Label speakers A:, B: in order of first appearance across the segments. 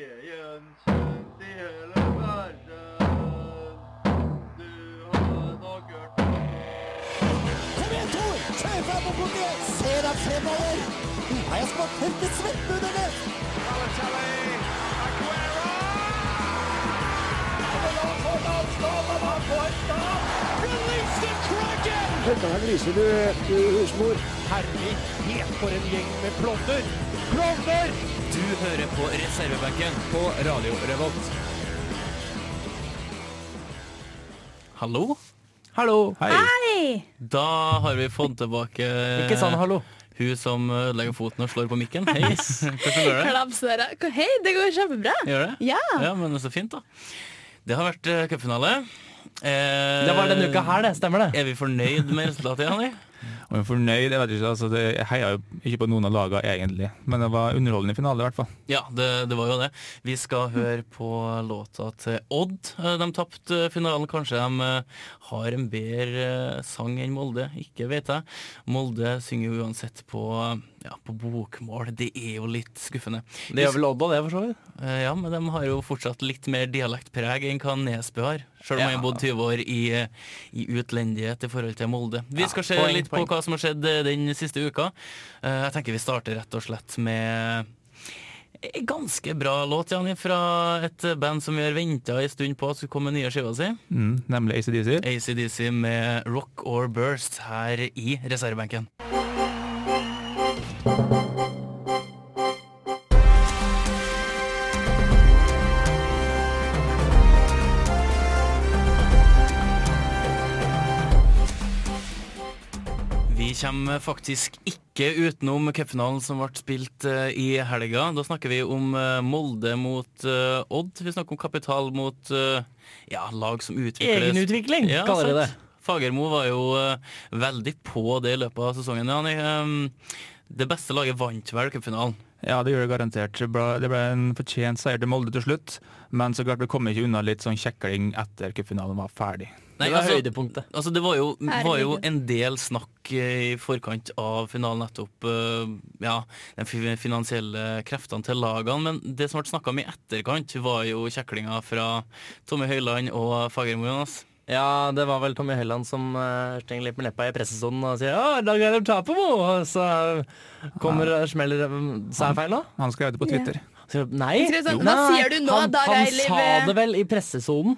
A: Veden kjent i hele verden. Du har nok hørt om
B: Kom igjen, Tor! Kjør fram og bort igjen! Se deg fremover! Nå har jeg smakt tørke svetten under det!
C: Du hører på reservebenken på Radio Revolt. Hallo?
D: Hallo.
E: Hei!
C: Da har vi fått tilbake
D: Ikke sånn hallo.
C: hun som ødelegger foten og slår på mikken. Hei, hvordan går det?
E: Klaps dere. Hei, det går kjempebra.
C: Gjør det?
E: Ja.
C: Ja, men så fint, da. Det har vært eh, cupfinale. Eh,
D: Det var denne uka her, det. Stemmer det?
C: Er vi fornøyd med resultatet, Janni?
F: Og jeg er fornøyd, jeg vet ikke, altså det, jeg heier jo ikke på noen av lagene egentlig, men det var underholdende finale i hvert fall.
C: Ja, det, det var jo det. Vi skal høre på låta til Odd. Eh, De tapte eh, finalen. Kanskje de eh, har en bedre eh, sang enn Molde. Ikke vet jeg. Molde synger jo uansett på, eh, ja, på bokmål. Det er jo litt skuffende.
D: Det gjør vel Odda, det, for så vidt.
C: Eh, Ja, men de har jo fortsatt litt mer dialektpreg enn hva Nesbø har. Selv om
F: Ja.
C: jeg har bodd 20 år i, eh, i utlendighet i forhold til Molde. Vi skal se
D: poeng,
C: litt
D: poeng.
C: på hva som har skjedd eh, den siste uka. Eh, Jeg tenker vi starter rett og slett med en ganske bra låt, Janni, fra et band som vi har venta en stund på at skulle komme med nye skiva si.
F: Mm, nemlig ACDC.
C: ACDC med Rock or Burst her i reservebenken. Vi kommer faktisk ikke utenom cupfinalen som ble spilt eh, i helga. Da snakker vi om eh, Molde mot eh, Odd. Vi snakker om kapital mot eh, ja, lag som utvikles.
D: Egenutvikling,
C: Ja,
D: kaller de det.
C: sant. Fagermo var jo eh, veldig på det i løpet av sesongen. Han, eh, det beste laget vant vel cupfinalen.
F: Ja, det gjør det garantert. Det ble, det ble en fortjent seier til Molde til slutt, men så klart det kom ikke unna litt sånn kjekling etter cupfinalen var ferdig.
C: Nei,
D: Det var
C: altså-
D: høydepunktet.
C: Altså, det var jo, var jo
E: Herregud.
C: en del snakk eh, i forkant av finalen nettopp. eh, Ja, de fi- finansielle kreftene til lagene. Men det som ble snakka om i etterkant, var jo kjeklinga fra Tommy Høiland og Fagermo Jonas.
D: Ja, det var vel Tommy Helland som eh, stenger litt med leppa i pressesonen og sier «Å, i dag er det tap på noe!» Og så kommer eh, smeller Sa jeg feil nå?
F: Han skrev det på Twitter.
D: Så, nei.
E: Jeg tror sånn,
D: Jo.
E: hva
D: Nei,
E: sier du nå,
D: Han,
E: da,
D: han
E: Reilev?
D: sa det vel i pressesonen.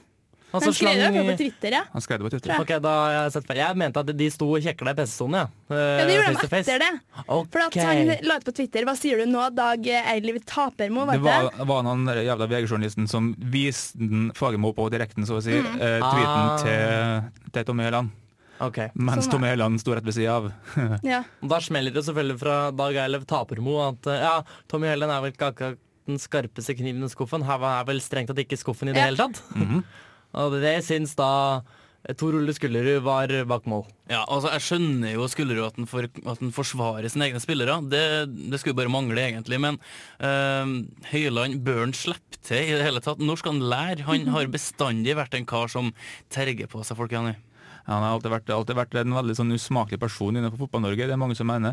D: Han
E: Han
D: så
E: skrev det
D: slang-
E: på Twitter, ja.
F: Han skrev det på Twitter.
D: Ok, da har jeg sett feil. Jeg mente at de sto og kjekla i pressesonen, ja. Eh,
E: Ja, Det gjorde de etter det.
D: Ok.
E: For at han la ut på Twitter 'Hva sier du nå, Dag Eiliv Tapermo?' Var
F: Det
E: det?
F: var, var han der jævla VG-journalisten som viste den Fagermo på direkten, så å si,
E: Mm.
F: eh, tweeten
D: Ah.
F: til, til Tommy Høiland.
D: Ok.
F: Mens
E: Sånn er-
F: Tommy Høiland sto rett ved sida av.
E: Ja.
D: Da smeller det selvfølgelig fra Dag Eilev Tapermo at eh, ja, Tommy Helen er vel ikke akkurat den skarpeste kniven i skuffen. Her var- er vel strengt tatt ikke skuffen i det
E: Ja.
D: hele tatt. Og det syns da eh, Tor Ole Skullerud var bak mål.
C: Ja, altså Jeg skjønner jo Skullerud at han, for, at han forsvarer sine egne spillere. Det, det skulle bare mangle, egentlig. Men øhm, Høyland bør han slippe til i det hele tatt. Når skal han lære? Han har bestandig vært en kar som terger på seg folk. Janni.
F: Ja, Han har alltid vært, alltid vært en veldig sånn usmakelig person innenfor Fotball-Norge, det er mange som mener.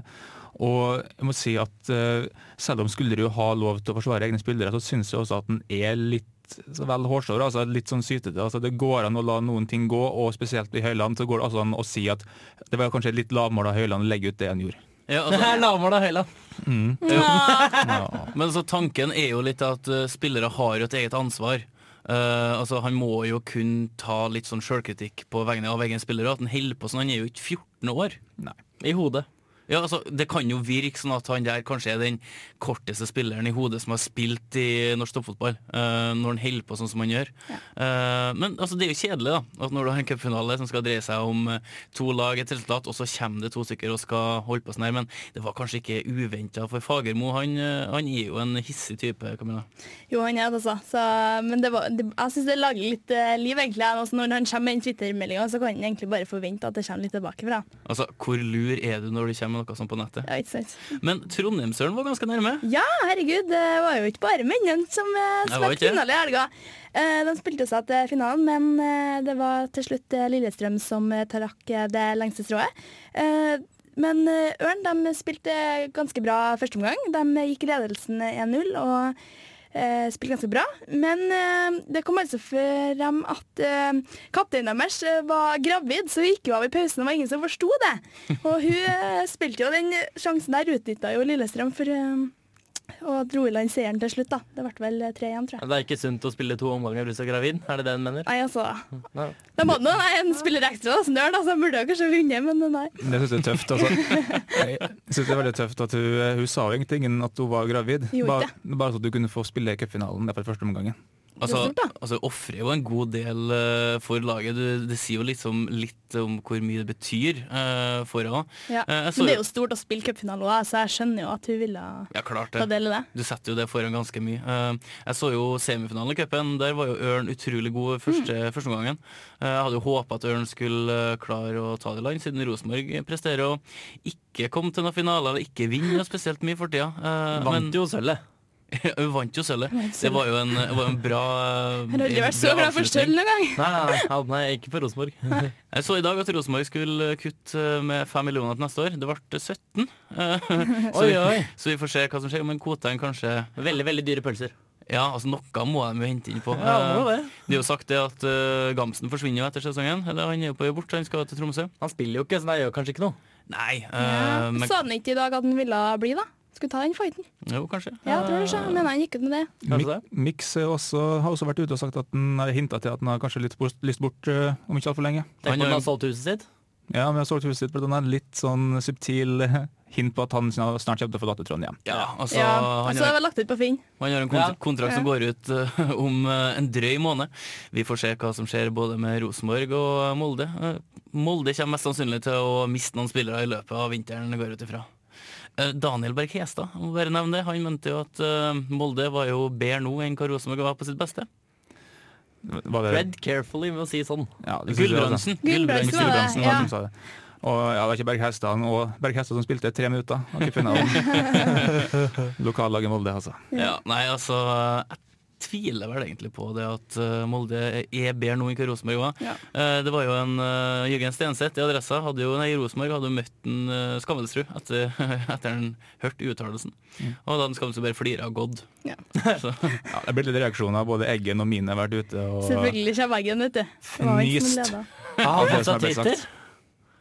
F: Og jeg må si at eh, selv om Skulderud har lov til å forsvare egne spillere, så syns jeg også at han er litt så vel hårsår, altså litt sånn sytete. altså Det går an å la noen ting gå, og spesielt i Høyland så går det altså an å si at det var kanskje litt lavmål av Høyland å legge ut det han gjorde.
C: Ja, altså,
D: Det er lavmål av Høyland.
C: men altså, tanken er jo litt at øh, spillere har jo et eget ansvar. Eh, altså Han må jo kunne ta litt sånn sjølkritikk på vegne av egen spiller. og At han holder på sånn. Han er jo ikke 14 år.
D: I hodet.
C: Ja, altså, Det kan jo virke sånn at han der kanskje er den korteste spilleren i hodet som har spilt i norsk toppfotball, eh, når han holder på sånn som han gjør. Eh, men altså, det er jo kjedelig, da. At når du har en cupfinale som skal dreie seg om eh, to lag, et resultat, og så kommer det to stykker og skal holde på sånn her. Men det var kanskje ikke uventa for Fagermo. Han, eh, han er jo en hissig type, Camilla.
E: Jo, han er det, altså. Så, men det var, det, jeg syns det lager litt eh, liv, egentlig. jeg. Altså, når han kommer med den Twitter-meldinga, så kan han egentlig bare forvente at det kommer litt tilbake fra han.
C: Altså, hvor lur er du når du kommer med noe sånt på nettet?
E: Ja, ikke sant?
C: Men Trondheimsøren var ganske nærme.
E: Ja, herregud, det var jo ikke bare mennene som eh,
C: Nei, var
E: smakte
C: ikke det?
E: finale i helga. Eh, De spilte seg til finalen, men eh, det var til slutt eh, Lillestrøm som eh, trakk eh, det lengste strået. Eh, Men eh, Ørn de spilte ganske bra første omgang. De gikk ledelsen 1-0, og eh, spilte ganske bra. Men eh, det kom altså frem at eh, kapteinen deres eh, var gravid, så hun gikk jo av i pausen. Det var ingen som forsto det. Og hun eh, spilte jo den sjansen der, utnytta jo Lillestrøm for eh, og dro i land seieren til slutt, da. Det ble vel 3-1, tror jeg.
D: Det er ikke sunt å spille to omganger hvis du er gravid, er det det hun mener?
E: Nei, altså.
D: Nei.
E: Da må det nå en spiller ekstra, da. Snør, da. Så jeg burde jo kanskje vunnet, men nei.
F: Det syns jeg er tøft. Altså. Jeg synes det er veldig tøft at hun, hun sa jo egentlig ingen at hun var gravid.
E: Gjorde
F: Bare,
E: det.
F: bare så at hun kunne få spille i cupfinalen derfor første omgangen.
C: Altså,
E: Det er stort,
C: altså ofrer jo en god del eh, for laget. Du, det sier jo liksom litt om hvor mye det betyr eh, for henne.
E: Ja.
C: Eh, jeg så
E: Men det er jo stort å spille cupfinale òg, så jeg skjønner jo at hun ville
C: Ja, klart
E: ta
C: det.
E: del i det.
C: Du setter jo det foran ganske mye. Eh, jeg så jo semifinalen i cupen. Der var jo Ørn utrolig god første,
E: Mm.
C: første omgangen. Eh, jeg hadde jo håpa at Ørn skulle eh, klare å ta det i land, siden Rosenborg presterer å ikke komme til noen finale eller ikke vinne noe spesielt mye for tida. Eh, men-
D: Vant jo sølvet.
C: Hun vant jo sølvet.
E: Hun vant
C: Det var jo en, var en bra eh,
E: Jeg har aldri vært så
C: bra
E: glad for
C: avslutning.
E: sølv noen gang.
D: Nei, nei, nei, nei, ikke for Rosenborg.
C: Jeg så i dag at Rosenborg skulle kutte med 5 millioner til neste år. Det ble 17. Eh, Så
D: Oi,
C: vi,
D: oi.
C: så vi får se hva som skjer. Men kvotene kanskje
D: Veldig, veldig dyre pølser.
C: Ja, altså noe må de jo hente inn på.
D: Ja, må
C: Eh,
D: det.
C: Det er jo sagt det at eh, Gamsen forsvinner jo etter sesongen. Eller han er jo på vei bort, han skal til Tromsø.
D: Han spiller jo ikke, så det gjør kanskje ikke noe.
C: Nei, eh,
E: Ja.
C: men
E: Sa han ikke i dag at han ville bli, da? Skulle ta den fighten.
C: jo, kanskje.
E: Ja, jeg tror det skjer. Men han gikk ut med det.
D: Kanskje
F: Mik- Mix er også, har også vært ute og sagt at han har hinta til at han har kanskje litt bort, lyst bort eh, om ikke altfor lenge.
D: Tenk
C: Han er-
D: om han har solgt huset sitt.
F: Ja, men jeg har solgt huset sitt, men han er litt sånn subtil eh, hint på at han snar- snart kommer til å forlate Trondheim.
C: Ja, altså,
E: Ja.
C: han er-
E: Altså, det var lagt ut på Finn.
C: Man har en
D: Ja.
C: kont kontrakt som går ut eh, om eh, en drøy måned. Vi får se hva som skjer både med Rosenborg og Molde. Eh, Molde kommer mest sannsynlig til å miste noen spillere i løpet av vinteren, går jeg ut ifra. Eh, Daniel Berg Hestad, jeg må bare nevne det. Han mente jo at eh, Molde var jo bedre nå enn hva Rosenborg var på sitt beste.
F: Var det,
D: Tread carefully med å si sånn.
F: ja, det synes jeg altså.
C: Gulbrandsen.
E: Gulbrandsen
C: Gulbrandsen.
E: var det.
F: Gulbrandsen var det som sa det. Og ja, det var ikke Berg Hestad og Berg Hestad som spilte tre minutter. Har ikke funnet han. Lokallaget Molde, altså.
C: Ja, nei, altså eh, jeg tviler vel egentlig på det at eh, Molde er bedre nå enn hva Rosenborg var.
E: Ja.
C: Eh, Det var jo en eh, Jørgen Stenseth i Adressa hadde jo, nei, i Rosenborg hadde jo møtt en eh, Skammelsrud etter, etter han hørte uttalelsen.
D: Mm.
C: Og da hadde han Skammelsrud bare flira og gått.
E: Ja.
C: Så,
F: Ja, det er blitt litt reaksjoner. Både Eggen og mine har vært ute. Og,
E: Selvfølgelig kommer veggen, vet du. Det var han som
F: Fnist.
E: leda.
D: Ja,
F: Det er
D: han
F: det
D: fått
F: som er
D: seg
F: best
D: Twitter.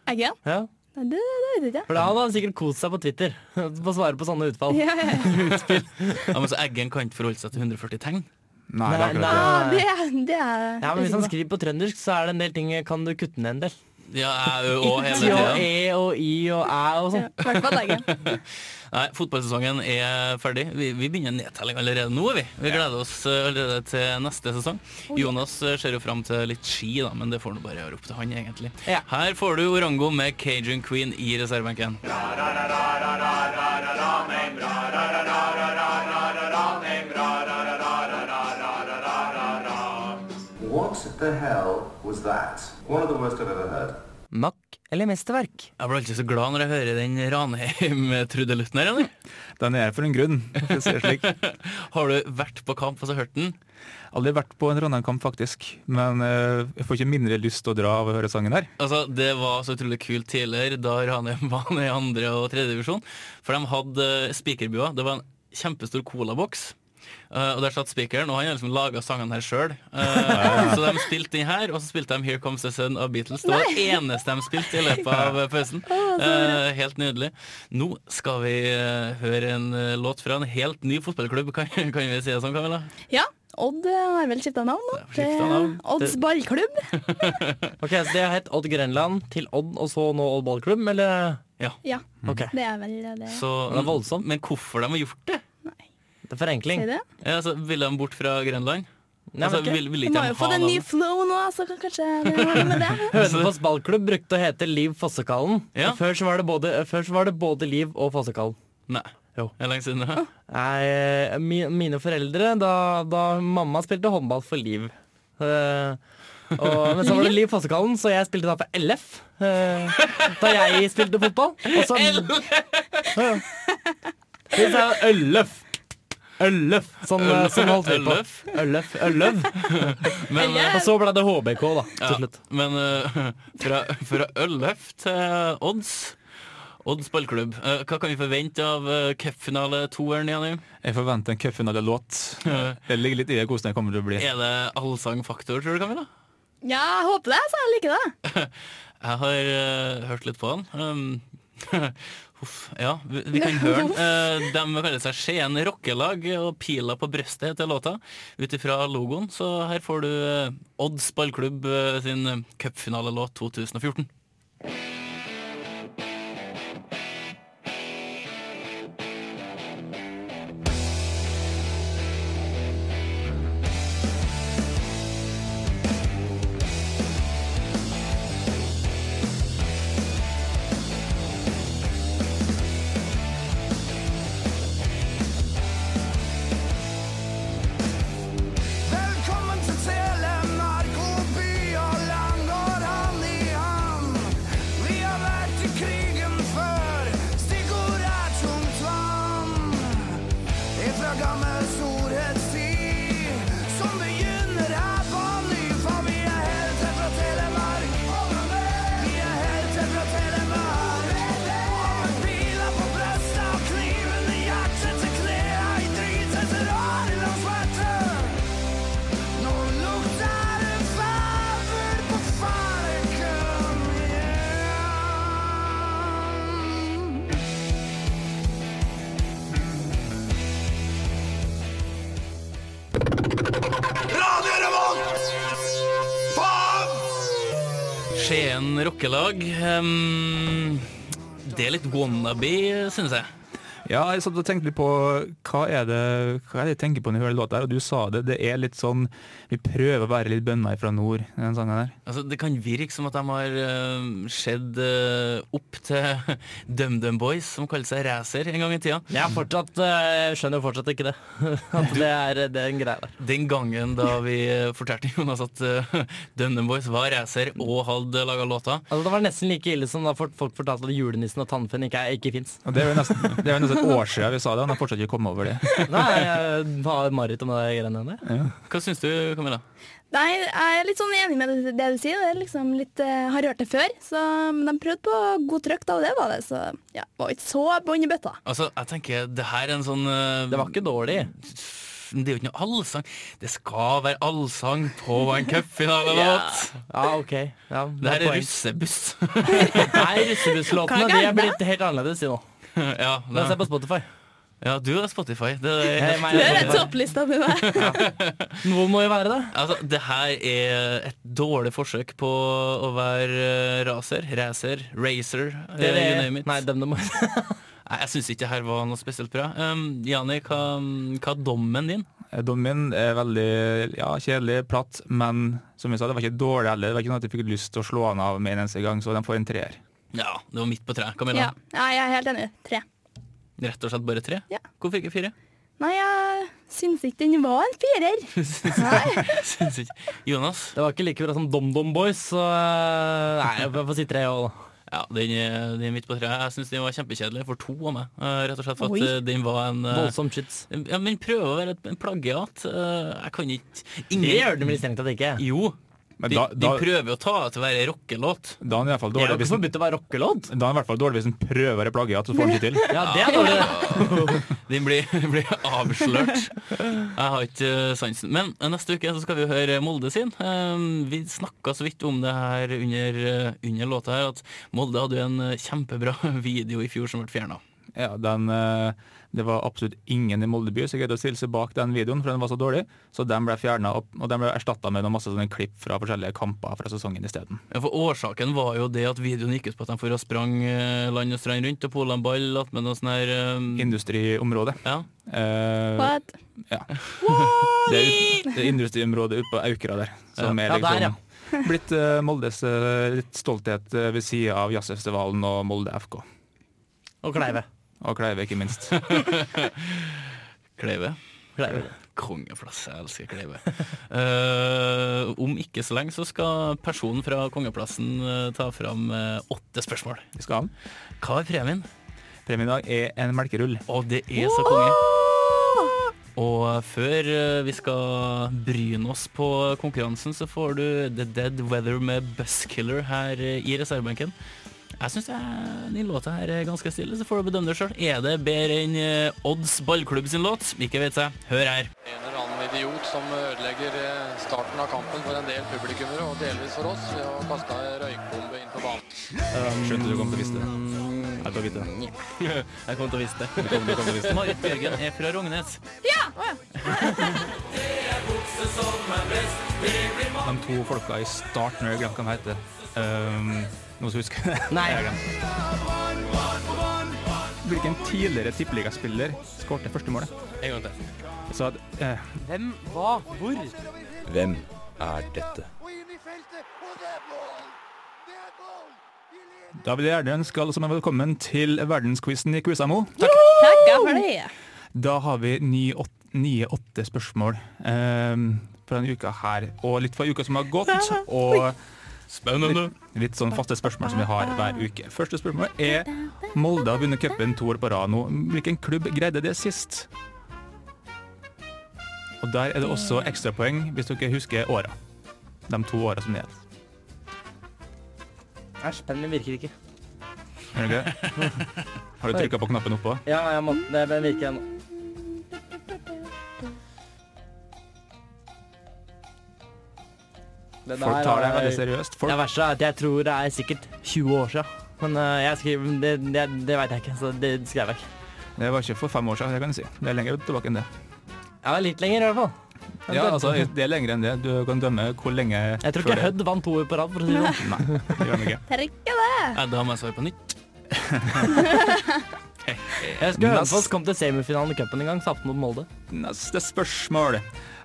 E: Eggen?
D: Ja.
E: Nei, det, det vet jeg ikke.
D: For han hadde sikkert kost seg på Twitter på å svare på sånne utfall.
E: Ja, ja, ja.
C: ja, men så Eggen kan ikke forholde seg til 140 tegn.
F: Nei, det er akkurat det.
E: Ah, det, det er
D: Ja, men Hvis han skriver på trøndersk, så er det en del ting kan du kutte ned en del.
C: Ja, jeg, og hele
D: T og
C: tiden.
D: E og I og Æ og
E: Ja,
D: sånn.
E: I hvert fall Eggen.
C: Nei, Fotballsesongen er ferdig. Vi, vi begynner nedtelling allerede nå. Vi Vi gleder oss eh, allerede til neste sesong. Jonas eh, ser jo fram til litt ski, da, men det får nå bare være opp til han, egentlig.
D: Ja.
C: Her får du Orango med Cajun Queen i reservebenken.
G: What the hell was that? One of the worst I've ever heard.
D: Mack eller mesterverk?
C: Jeg blir alltid så glad når jeg hører den Ranheim-trudelutten her. Jonny.
F: Den er her for en grunn. for å si det slik.
C: Har du vært på kamp og så hørt den?
F: Aldri vært på en Trondheim-kamp, faktisk. Men eh, jeg får ikke mindre lyst til å dra av å høre sangen her.
C: Altså, Det var så utrolig kult tidligere, da Ranheim var nede i andre- og tredjedivisjon. For de hadde eh, spikerbua. Det var en kjempestor colaboks. Eh, og der satt spikeren, og han har liksom laga sangene her sjøl. så de spilte den her, og så spilte de 'Here Comes the Sun' av Beatles. Det var det eneste de spilte i løpet av eh, pausen. Eh, helt nydelig. Nå skal vi eh, høre en eh, låt fra en helt ny fotballklubb, kan, kan vi si det sånn, Camilla?
E: Ja, Odd eh, har vel skifta navn nå.
C: Det er skiftet navn.
E: Til Odds ballklubb.
D: Ok, Så det har hett Odd Grenland til Odd, og så nå Odd ballklubb, eller?
E: Ja,
D: Ok,
E: det er vel det.
C: Så,
D: Det er voldsomt.
C: Men hvorfor de har gjort det?
D: Det er forenkling.
E: Sier det?
C: Ja, altså, ville de bort fra Grenland?
D: Nei,
C: altså,
D: vet ikke.
C: vil, vil
E: Vi
C: ikke
E: må
C: de
E: jo
C: ha
E: få en ny
C: navnet?
E: flow nå, så kan kanskje det har noe med det.
D: Hønefoss ballklubb brukte å hete Liv Fossekallen.
C: Altså- Ja.
D: Før, så var det både, før så var det både Liv og Fossekallen.
C: Nei.
D: Jo.
C: Det er lenge siden.
E: Ah.
C: det.
D: Nei, mi, mine foreldre, da, da mamma spilte håndball for Liv. Eh, og, men så var det Liv Fossekallen, så jeg spilte da for LF. eh, da jeg spilte fotball. Og så Ja. Vi sa Ølløf. Ølløf. Sånn, eh, sånn holdt vi på.
C: Ølløf?
D: Ølløf. Ølløv.
C: Men, eh,
D: Og så ble det HBK, da, til
C: ja,
D: slutt.
C: men eh, fra, fra Øllef til Odds Odds ballklubb, eh, hva kan vi forvente av eh, cupfinale-toeren? Jenny?
F: Jeg forventer en cupfinale-låt. Det ligger litt i det hvordan det kommer til å bli.
C: Er det allsangfaktor, tror du, Camilla?
E: Ja, jeg håper det, så jeg liker det.
C: Jeg har eh, hørt litt på han. Um, Uff, ja, vi, vi kan høre den. Eh, de kaller seg Skien rockelag, og 'Pila på brøstet' heter låta. Ut ifra logoen, så her får du eh, Odds ballklubb eh, sin eh, cupfinalelåt 2014.
H: Velkommen til Telemark, god by og land går hand i hand. Vi har vært i krigen før, stikkord er tungt vann. Ifra gammel storhetstid, som begynner her på ny. For vi er helter fra Telemark. Vi er helter fra Telemark. Og med piler på brøstet og kniven i hjertet til klærne i drit etter år i landsmøtet. Nå lukter det farver på fargen igjen. Radio Revolt! Faen!
C: Skien rockelag. ehm, det er litt wannabe, synes jeg.
F: Ja, jeg satt og tenkte litt på hva er det hva er det jeg tenker på når jeg hører låta her, og du sa det. Det er litt sånn Vi prøver å være litt bønder fra nord, den sangen her.
C: Altså, det kan virke som at de har ehm, sett eh, opp til DumDum Boys, som kaller seg Racer en gang i tida.
D: Jeg er fortsatt, eh, jeg skjønner jo fortsatt ikke det. At det er det er en greie der.
C: Den gangen da vi eh, fortalte Jonas at uh, DumDum Boys var racer og hadde laga låta.
D: Altså, det var nesten like ille som da folk folk fortalte at julenissen og tannfen ikke, er- ikke fins.
F: Og Det er jo nesten, det er jo nesten et år siden vi sa det, og han har fortsatt ikke kommet over det.
D: Nei, jeg har mareritt om de greiene der.
C: Hva syns du, Camilla?
E: Nei, jeg er litt sånn enig med det, det du sier. Det er liksom litt, eh, har hørt det før, så, men de prøvde på god trøkk da, og det var det. Så ja, var ikke så bånn i bøtta.
C: Altså, jeg tenker det her er en sånn eh,
D: Det var ikke dårlig.
C: det er jo ikke noe allsang. Det skal være allsang på en cupfinalelåt!
D: Ja, OK. Ja,
C: Det her er
D: poeng.
C: russebuss.
D: Nei,
E: Hva er
D: russebusslåtene de er
E: gærent da?
D: blitt helt annerledes i nå.
C: ja,
D: La oss se
C: det,
D: på Spotify.
C: ja, du er Spotify. Det,
D: Jeg
C: er-
D: mener-
E: Det er topplista mi, det.
D: Noe må jo være det.
C: altså, det her er et dårlig forsøk på å være eh, racer. Racer, racer, eh,
D: det,
C: you
D: er
C: name
D: det
C: it.
D: nei, dem det må
C: Nei, jeg syns ikke det her var noe spesielt bra. Um, Jani, hva, hva er dommen din?
F: Eh, Dommen min er veldig ja, kjedelig, platt, men som jeg sa, det var ikke dårlig heller. Det var ikke noe at jeg fikk lyst til å slå han av med en eneste gang, så de får en treer.
C: Ja, det var midt på treet. Camilla,
E: Ja, Nei, jeg er helt enig. Tre.
C: rett og slett bare tre?
E: Ja.
C: Hvorfor ikke fire?
E: Nei, jeg syns ikke den var en firer. Nei.
C: Syns ikke. Jonas,
D: Det var ikke like bra som DomDom Boys, så eh, Nei, jeg får si tre òg, da.
C: ja, den, er- den er midt på treet. Jeg syns den var kjempekjedelig for to av meg. eh, Rett og slett for
E: Oi.
C: at eh, den var en eh,
D: Voldsom shit.
C: ja, men prøv å være et en plagiat. Eh, Jeg kan ikke
D: Det
C: Ingen
D: gjør det vel strengt tatt ikke.
C: Jo,
F: Men
C: de,
F: da,
C: de
F: da,
C: prøver å ta det til å være rockelåt.
F: da er han i hvert fall
D: Det er
F: dårlig
D: jo ikke
F: hvis han,
D: forbudt å være rockelåt.
F: da er han i hvert fall dårlig hvis han prøver å være plagiat, så får han ikke til.
D: Ja, det er dårlig. det.
C: Den blir, blir avslørt. Jeg har ikke eh, sansen. Men eh, neste uke så skal vi høre Molde sin. Eh, Vi snakka så vidt om det her under, eh, under låta her, at Molde hadde jo en eh, kjempebra video i fjor som ble fjerna.
F: Ja, den, eh, det var absolutt ingen i Molde by som greide å stille seg bak den videoen, for den var så dårlig. Så den ble fjerna, og den ble erstatta med noe masse sånne klipp fra forskjellige kamper fra sesongen isteden.
C: Ja, For årsaken var jo det at videoen gikk ut på at de for og sprang eh, land og strand rundt og pola en ball attmed noe sånn her eh,
F: Industriområdet.
C: Ja.
F: Eh,
E: What?
F: det er ut, det er industriområdet ute på Aukra der. Som er
D: Ja, der,
F: liksom
D: ja.
F: blitt eh, Moldes eh, litt stolthet eh, ved sida av jazzfestivalen og Molde FK.
D: Og Kleive.
F: Og Kleive, ikke minst.
C: Kleive.
D: Kleive.
C: Kongeplass. Jeg elsker Kleive. Eh, om ikke så lenge så skal personen fra Kongeplassen eh, ta fram eh, åtte spørsmål.
F: Vi skal ha den.
C: Hva er premien?
F: Premien i dag er en melkerull.
C: Og det er så konge. Og før eh, vi skal bryne oss på konkurransen, så får du The Dead Weather med Buzzkiller her eh, i reservebenken. Jeg syns den låta her er ganske stille, så får du bedømme det sjøl. Er det bedre enn eh, Odds ballklubb sin låt? Ikke vet jeg. Hør her.
I: En eller annen idiot som ødelegger eh, starten av kampen for en del publikummere, og delvis for oss, ved å kaste ei røykbombe inn på banen.
F: Skjønte du kom til å vise det. Jeg kom
C: Jeg kommer til
F: til å vite det.
C: å vise det.
F: Du kom- du kom til å vite det.
C: Marit Bjørgen er fra Rognes.
E: Ja! Å, ja.
F: De to folka i starten, jeg glemte hva de heter. Um, noen som husker det?
D: Nei.
F: Jeg har glemt. Hvilken tidligere tippeligaspiller skåret første målet?
C: En gang til.
F: Så at, eh,
D: Hvem, hva, hvor?
J: Hvem er dette?
H: Og inn i feltet, og det er mål! Det er mål! Vi leder!
F: da vil jeg gjerne ønske alle sammen velkommen til verdensquizen i Quizamo.
E: Takk for det.
F: Da har vi ni åt- nye åtte spørsmål um, fra denne uka her, og litt fra uka som har gått. Og
C: Spennende.
F: Litt sånn faste spørsmål som vi har hver uke. Første spørsmål er Molde har vunnet cupen to år på rad nå. Hvilken klubb greide det sist? Og der er det også ekstrapoeng hvis dere husker åra. De to åra som det het.
D: Æsj, pennen min virker ikke.
F: Er det ikke det? Har du trykka på knappen oppå?
D: Ja, jeg må, det, den virker ennå. Den
F: Folk
D: her
F: tar det
D: er-
F: veldig seriøst.
D: Det
F: Folk,
D: verste er at jeg tror det er sikkert 20 år siden. Men øh, jeg skriver, det, det, det vet jeg ikke, så det skrev jeg ikke.
F: det var ikke for fem år siden, det kan jeg si. Det er lenger tilbake enn det.
D: Jeg var litt lenger i hvert fall.
F: Ja, altså, det er lenger enn det. Du kan dømme hvor lenge
D: Jeg tror
F: før
D: ikke
F: det.
D: Hødd vant to år på rad, for å si det sånn.
F: Nei, det gjør den ikke.
E: Det er ikke det.
C: Ja, da må jeg svare på nytt.
D: Jeg husker
F: Nest-
D: Hønefoss kom til semifinalen i cupen en gang, tapte mot Molde.
F: Neste spørsmål.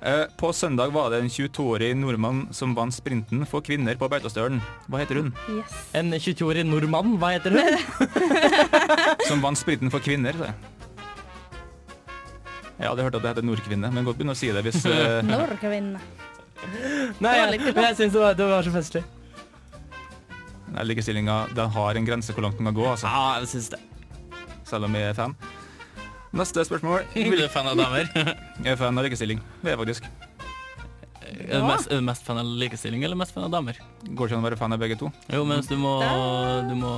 F: Eh, På søndag var det en 22-årig nordmann som vant sprinten for kvinner på Beitostølen. Hva heter hun?
E: Yes.
D: En 22-årig nordmann, hva heter hun?
F: Som vant sprinten for kvinner, sa jeg. Jeg hadde hørt at det heter nordkvinne, men godt begynne å si det hvis eh,
E: Norgvinne.
D: Nei,
E: Det var
D: jeg,
E: litt
D: men jeg syns det, var- det var så festlig.
F: nei, likestillinga den har en grense hvor langt den kan gå, altså.
D: Ja, jeg syns det.
F: Selv om jeg er fan. Neste spørsmål.
C: Er du fan av damer?
F: Jeg er fan av likestilling. Det er jeg faktisk.
C: Er du mest, er du mest fan av likestilling eller mest fan av damer?
F: Går ikke an å være fan av begge to.
C: Jo, mens du må, du må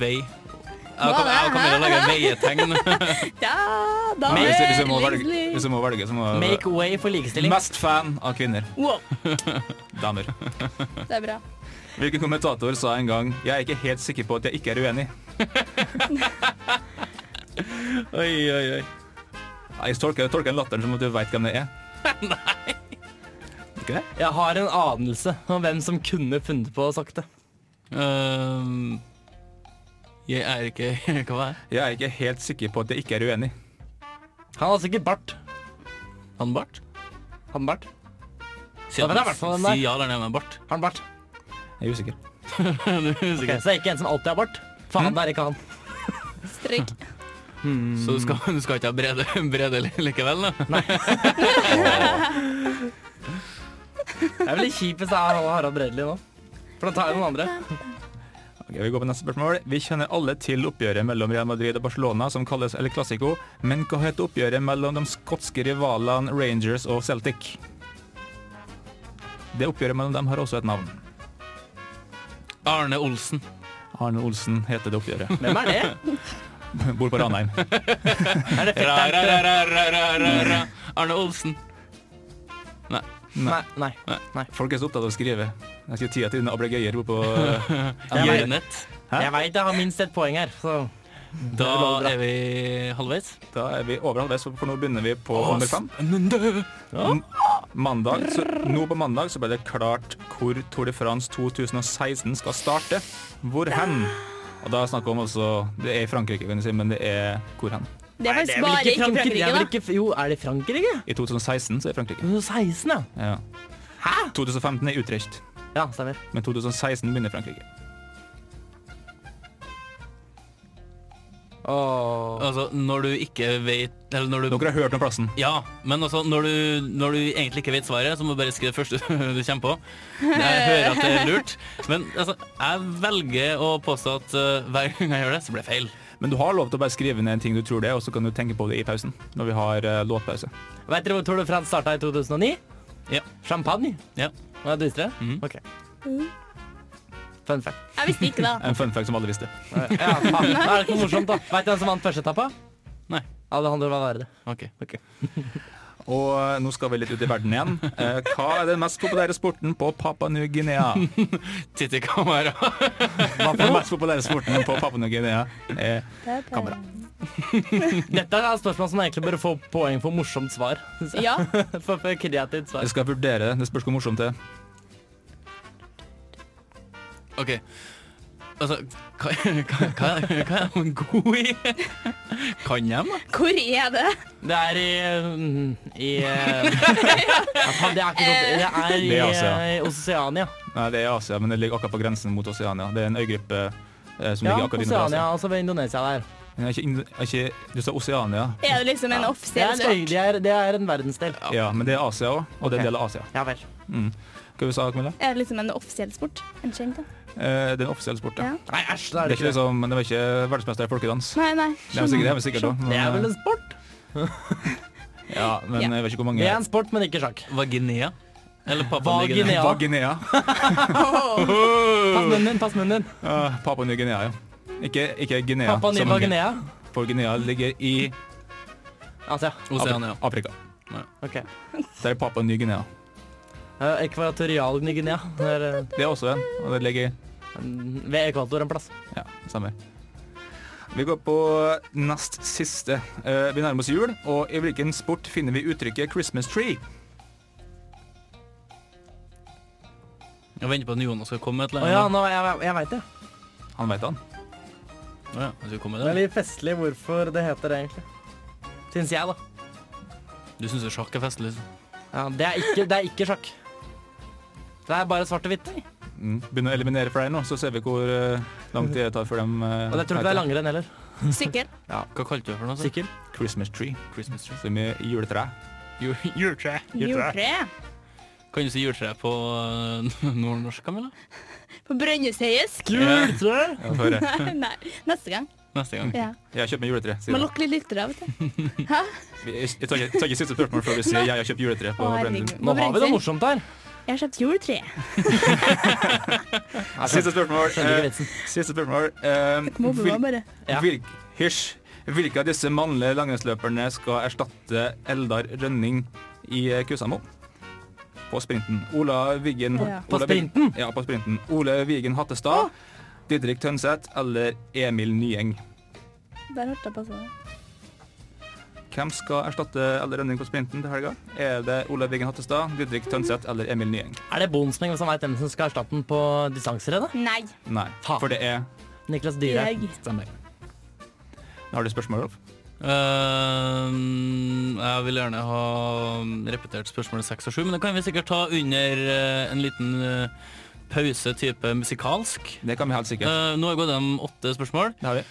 C: veie Jeg
E: Hva
C: kommer jeg kommer til å lage veietegn.
E: Ja, da
F: Men hvis, hvis, jeg må
E: er
F: velge, hvis jeg må velge, så må jeg
D: Make way for likestilling.
F: Mest fan av kvinner.
E: Wow,
F: Damer.
E: det er bra.
F: Hvilken kommentator sa en gang 'Jeg er ikke helt sikker på at jeg ikke er uenig'?
C: Oi, oi, oi.
F: Nei, Jeg tolker, jeg tolker den latteren som at du veit hvem det er. Nei. Ikke det?
D: Jeg har en anelse om hvem som kunne funnet på å ha sagt det.
C: Øhm, Um, jeg er ikke Hva var det?
F: Jeg er ikke helt sikker på at jeg ikke er uenig.
D: Han har sikkert bart.
C: Han Bart?
D: Han bart.
C: Si,
D: Ja, men det er i hvert fall den der.
C: si ja eller nei med Bart.
D: Han bart.
F: Jeg er usikker.
C: Du er
D: Ok, Mm.
C: usikker.
D: så det er ikke en som alltid har bart. Faen, det er ikke han.
E: Strikk.
C: Så du skal, du skal ikke ha Brede, brede likevel, da?
D: Det er vel litt kjipest av Harald Bredli nå. For han tar jo noen andre.
F: Ok, vi går på neste spørsmål. Vi kjenner alle til oppgjøret mellom Real Madrid og Barcelona, som kalles El Clásico. Men hva heter oppgjøret mellom de skotske rivalene Rangers og Celtic? Det oppgjøret mellom dem har også et navn.
C: Arne Olsen.
F: Arne Olsen heter det oppgjøret.
D: Hvem er det?
F: Bor på Ranheim.
D: Er
C: Ra, ra,
D: det fetteren?
C: ra, ra, ra, ra, ra, ra. Arne Olsen.
D: Nei, nei.
F: Folk er så opptatt av å skrive. Jeg skal ti av tiden ablegøyer bor på
C: Jørnet.
F: Hæ?
D: Jeg veit jeg har minst ett poeng her, så
C: Da er vi halvveis.
F: Da er vi over halvveis, for nå begynner vi på nummer fem.
C: spennende!
F: M- Mandag, så, nå på mandag så ble det klart hvor Tour de France 2016 skal starte. Hvor hen? Og da snakker vi om altså Det er i Frankrike, kan jeg si, men det er hvor hen?
E: Det er
D: Det
E: faktisk
D: er vel
E: bare
D: ikke
E: ikke
D: Frankrike, det er vel
E: Frankrike, da.
D: ikke, Jo, er det Frankrike?
F: I 2016 så er det Frankrike.
D: 2016, ja.
F: Ja. Hæ? 2015 er Utrecht,
D: Ja, stemmer.
F: men 2016 begynner Frankrike.
D: Åh.
C: Altså, når du ikke vet Eller når du
F: Dere har hørt om plassen.
C: Ja, men altså, når du, når du egentlig ikke vet svaret, så må du bare skrive det første du kommer på. Jeg hører at det er lurt, men altså, jeg velger å påstå at eh, hver gang jeg gjør det, så blir det feil.
F: Men du har lov til å bare skrive ned en ting du tror det er, og så kan du tenke på det i pausen. Når vi har eh, låtpause.
D: Vet dere hvor Tour de France starta i 2009?
C: Ja.
D: Champagne?
C: Ja.
D: Mhm. Hva, Du visste det?
C: Mhm.
D: Ok. Fun fact.
K: Jeg visste ikke det.
F: En fun fact som alle visste.
D: Ja, faen. Det er ikke noe morsomt, da. Veit du hvem som vant første etappa?
C: Nei.
D: Alejandro Valverde.
C: Ok.
F: Og eh, nå skal vi litt ut i verden igjen. Eh, Hva er den mest populære sporten på Papua New-Guinea?
C: Titt i kamera.
F: Hva er den mest populære sporten på Papua New-Guinea? Eh, Kamera.
D: Dette er et spørsmål som egentlig bør få poeng for morsomt svar. synes jeg.
K: Ja.
D: For, for kreativt svar.
F: Jeg skal vurdere det. Det spørs hvor morsomt det er.
C: Ok. Altså, hva, hva, hva, hva er de gode i? Kan de, da?
E: Hvor er det?
D: Det er i mm, I eh, ja, faen, Det er ikke godt. Det er i
F: Det er Asia.
D: eh, Oseania.
F: Nei, det er i Asia, men det ligger akkurat på grensen mot Oseania. Det er en øygruppe eh, som
D: Ja,
F: ligger akkurat innenfor
D: Oseania,
F: Asia.
D: altså ved Indonesia der.
F: Men er ikke, Indo- er ikke, du sa Oseania,
E: Er det liksom en
D: Det er,
E: offisiell
D: en øy- det er, det er en verdensdel.
F: ja, men det er Asia òg, og det er en del av Asia.
D: Ja vel.
F: Hva sa du, Camilla?
E: Er det liksom en offisiell sport? En kjent en?
F: Eh, det er en offisiell sport, ja.
E: Ja.
D: Nei, æsj,
F: Det
D: det er
F: er
D: det
F: ikke
D: ikke. det.
F: liksom, det var ikke verdensmester i folkedans.
E: Nei, nei.
F: Det er vel sikkert, det er vel sikkert også, men-
D: Det er vel en sport?
F: Ja, men jeg vet ikke hvor mange
D: Det er en sport, men ikke sjakk.
C: Vaginea? Eller Papua Ny-Guinea?
D: Vaginea.
F: Papua Guinea. Øh.
D: Pass munnen din, pass munnen din.
F: Ah, Papua Ny-Guinea, ja. Ikke, ikke Guinea.
D: Papua
F: som-
D: Ny-Guinea.
F: Papua Guinea ligger i
D: Asia.
C: Oseania.
F: Afrika.
D: OK.
F: Det er Papua Ny-Guinea.
D: Eh, Ekvatorial Ny-Guinea. Det er, eh,
F: Det er også en, og det ligger i
D: Ved ekvator en plass.
F: Ja, stemmer. Vi går på nest siste. Eh, Vi nærmer oss jul, og i hvilken sport finner vi uttrykket 'Christmas tree'?
C: Jeg venter på at Jonas skal komme med et
D: Å
C: eller
D: ja,
C: annet.
D: nå, jeg, jeg veit det.
F: Han veit han.
C: Å ja, han skal komme
D: Det er
C: med det.
D: litt festlig hvorfor det heter det, egentlig. Syns jeg, da.
C: Du syns sjakk er festlig? liksom.
D: Ja, det, er ikke, det er ikke sjakk. Det er bare svart og hvitt.
F: Mm. Begynner å eliminere flere nå, så ser vi hvor eh, lang tid det tar før de eh,
D: Og jeg tror ikke det er
F: heter
D: langrenn heller.
K: Sykkel.
C: Hva kalte du det for noe?
D: Sykkel.
F: Christmas tree,
C: Christmas tree.
F: som i juletre.
C: Juletre.
E: Juletre.
C: Kan du si juletre på øh, nordnorsk, Camilla?
E: På Brønnøyseisk?
D: Juletre!
F: Ja, får høre.
E: Nei. Neste gang.
C: Neste gang.
E: Ja.
F: Jeg har kjøpt meg juletre. sier
E: Må
F: jeg.
E: lokke litt lyttere, vet du.
F: Vi- Jeg tar ikke, tar ikke siste spørsmål før vi sier 'jeg har kjøpt juletre' på
E: Å,
F: Brennelund.
E: herregud.
D: Nå har vi det
E: Brennelund.
D: morsomt her.
E: Jeg har kjøpt juletre.
F: Siste spørsmål.
D: Skjønner ikke
F: eh,
D: vitsen.
F: Siste spørsmål. eh,
E: Mobber
F: hvil-
E: meg bare.
D: Ja.
F: Hvil Hysj. Hvilke av disse mannlige langrennsløperne skal erstatte Eldar Rønning i eh, Kusamo? På sprinten. Ola Wiggen
E: Ja.
D: På
F: Ola Wiggen- Ja, på sprinten. Ole Vigen Hattestad, Didrik Tønseth eller Emil Nyeng.
E: Der hørte jeg på sånn.
F: Hvem skal erstatte Eldar Rønning på sprinten til helga? Er det Ola Vigen Hattestad, Didrik Tønseth eller Emil Nyeng?
D: Er det Bonsmeng som veit hvem som skal erstatte den på distanser? Da?
E: Nei.
F: Nei,
D: Faen.
F: for det er
D: Niklas Dyhre.
E: Jeg.
F: Stemmer. Har du spørsmål, Rolf?
C: Øhm, Eh, jeg vil gjerne ha mm, repetert spørsmålet seks og sju, men det kan vi sikkert ta under øh, en liten øh, pause type musikalsk.
F: Det kan vi helt sikkert.
C: Øh, nå har jeg gått gjennom åtte spørsmål.
F: Det har vi.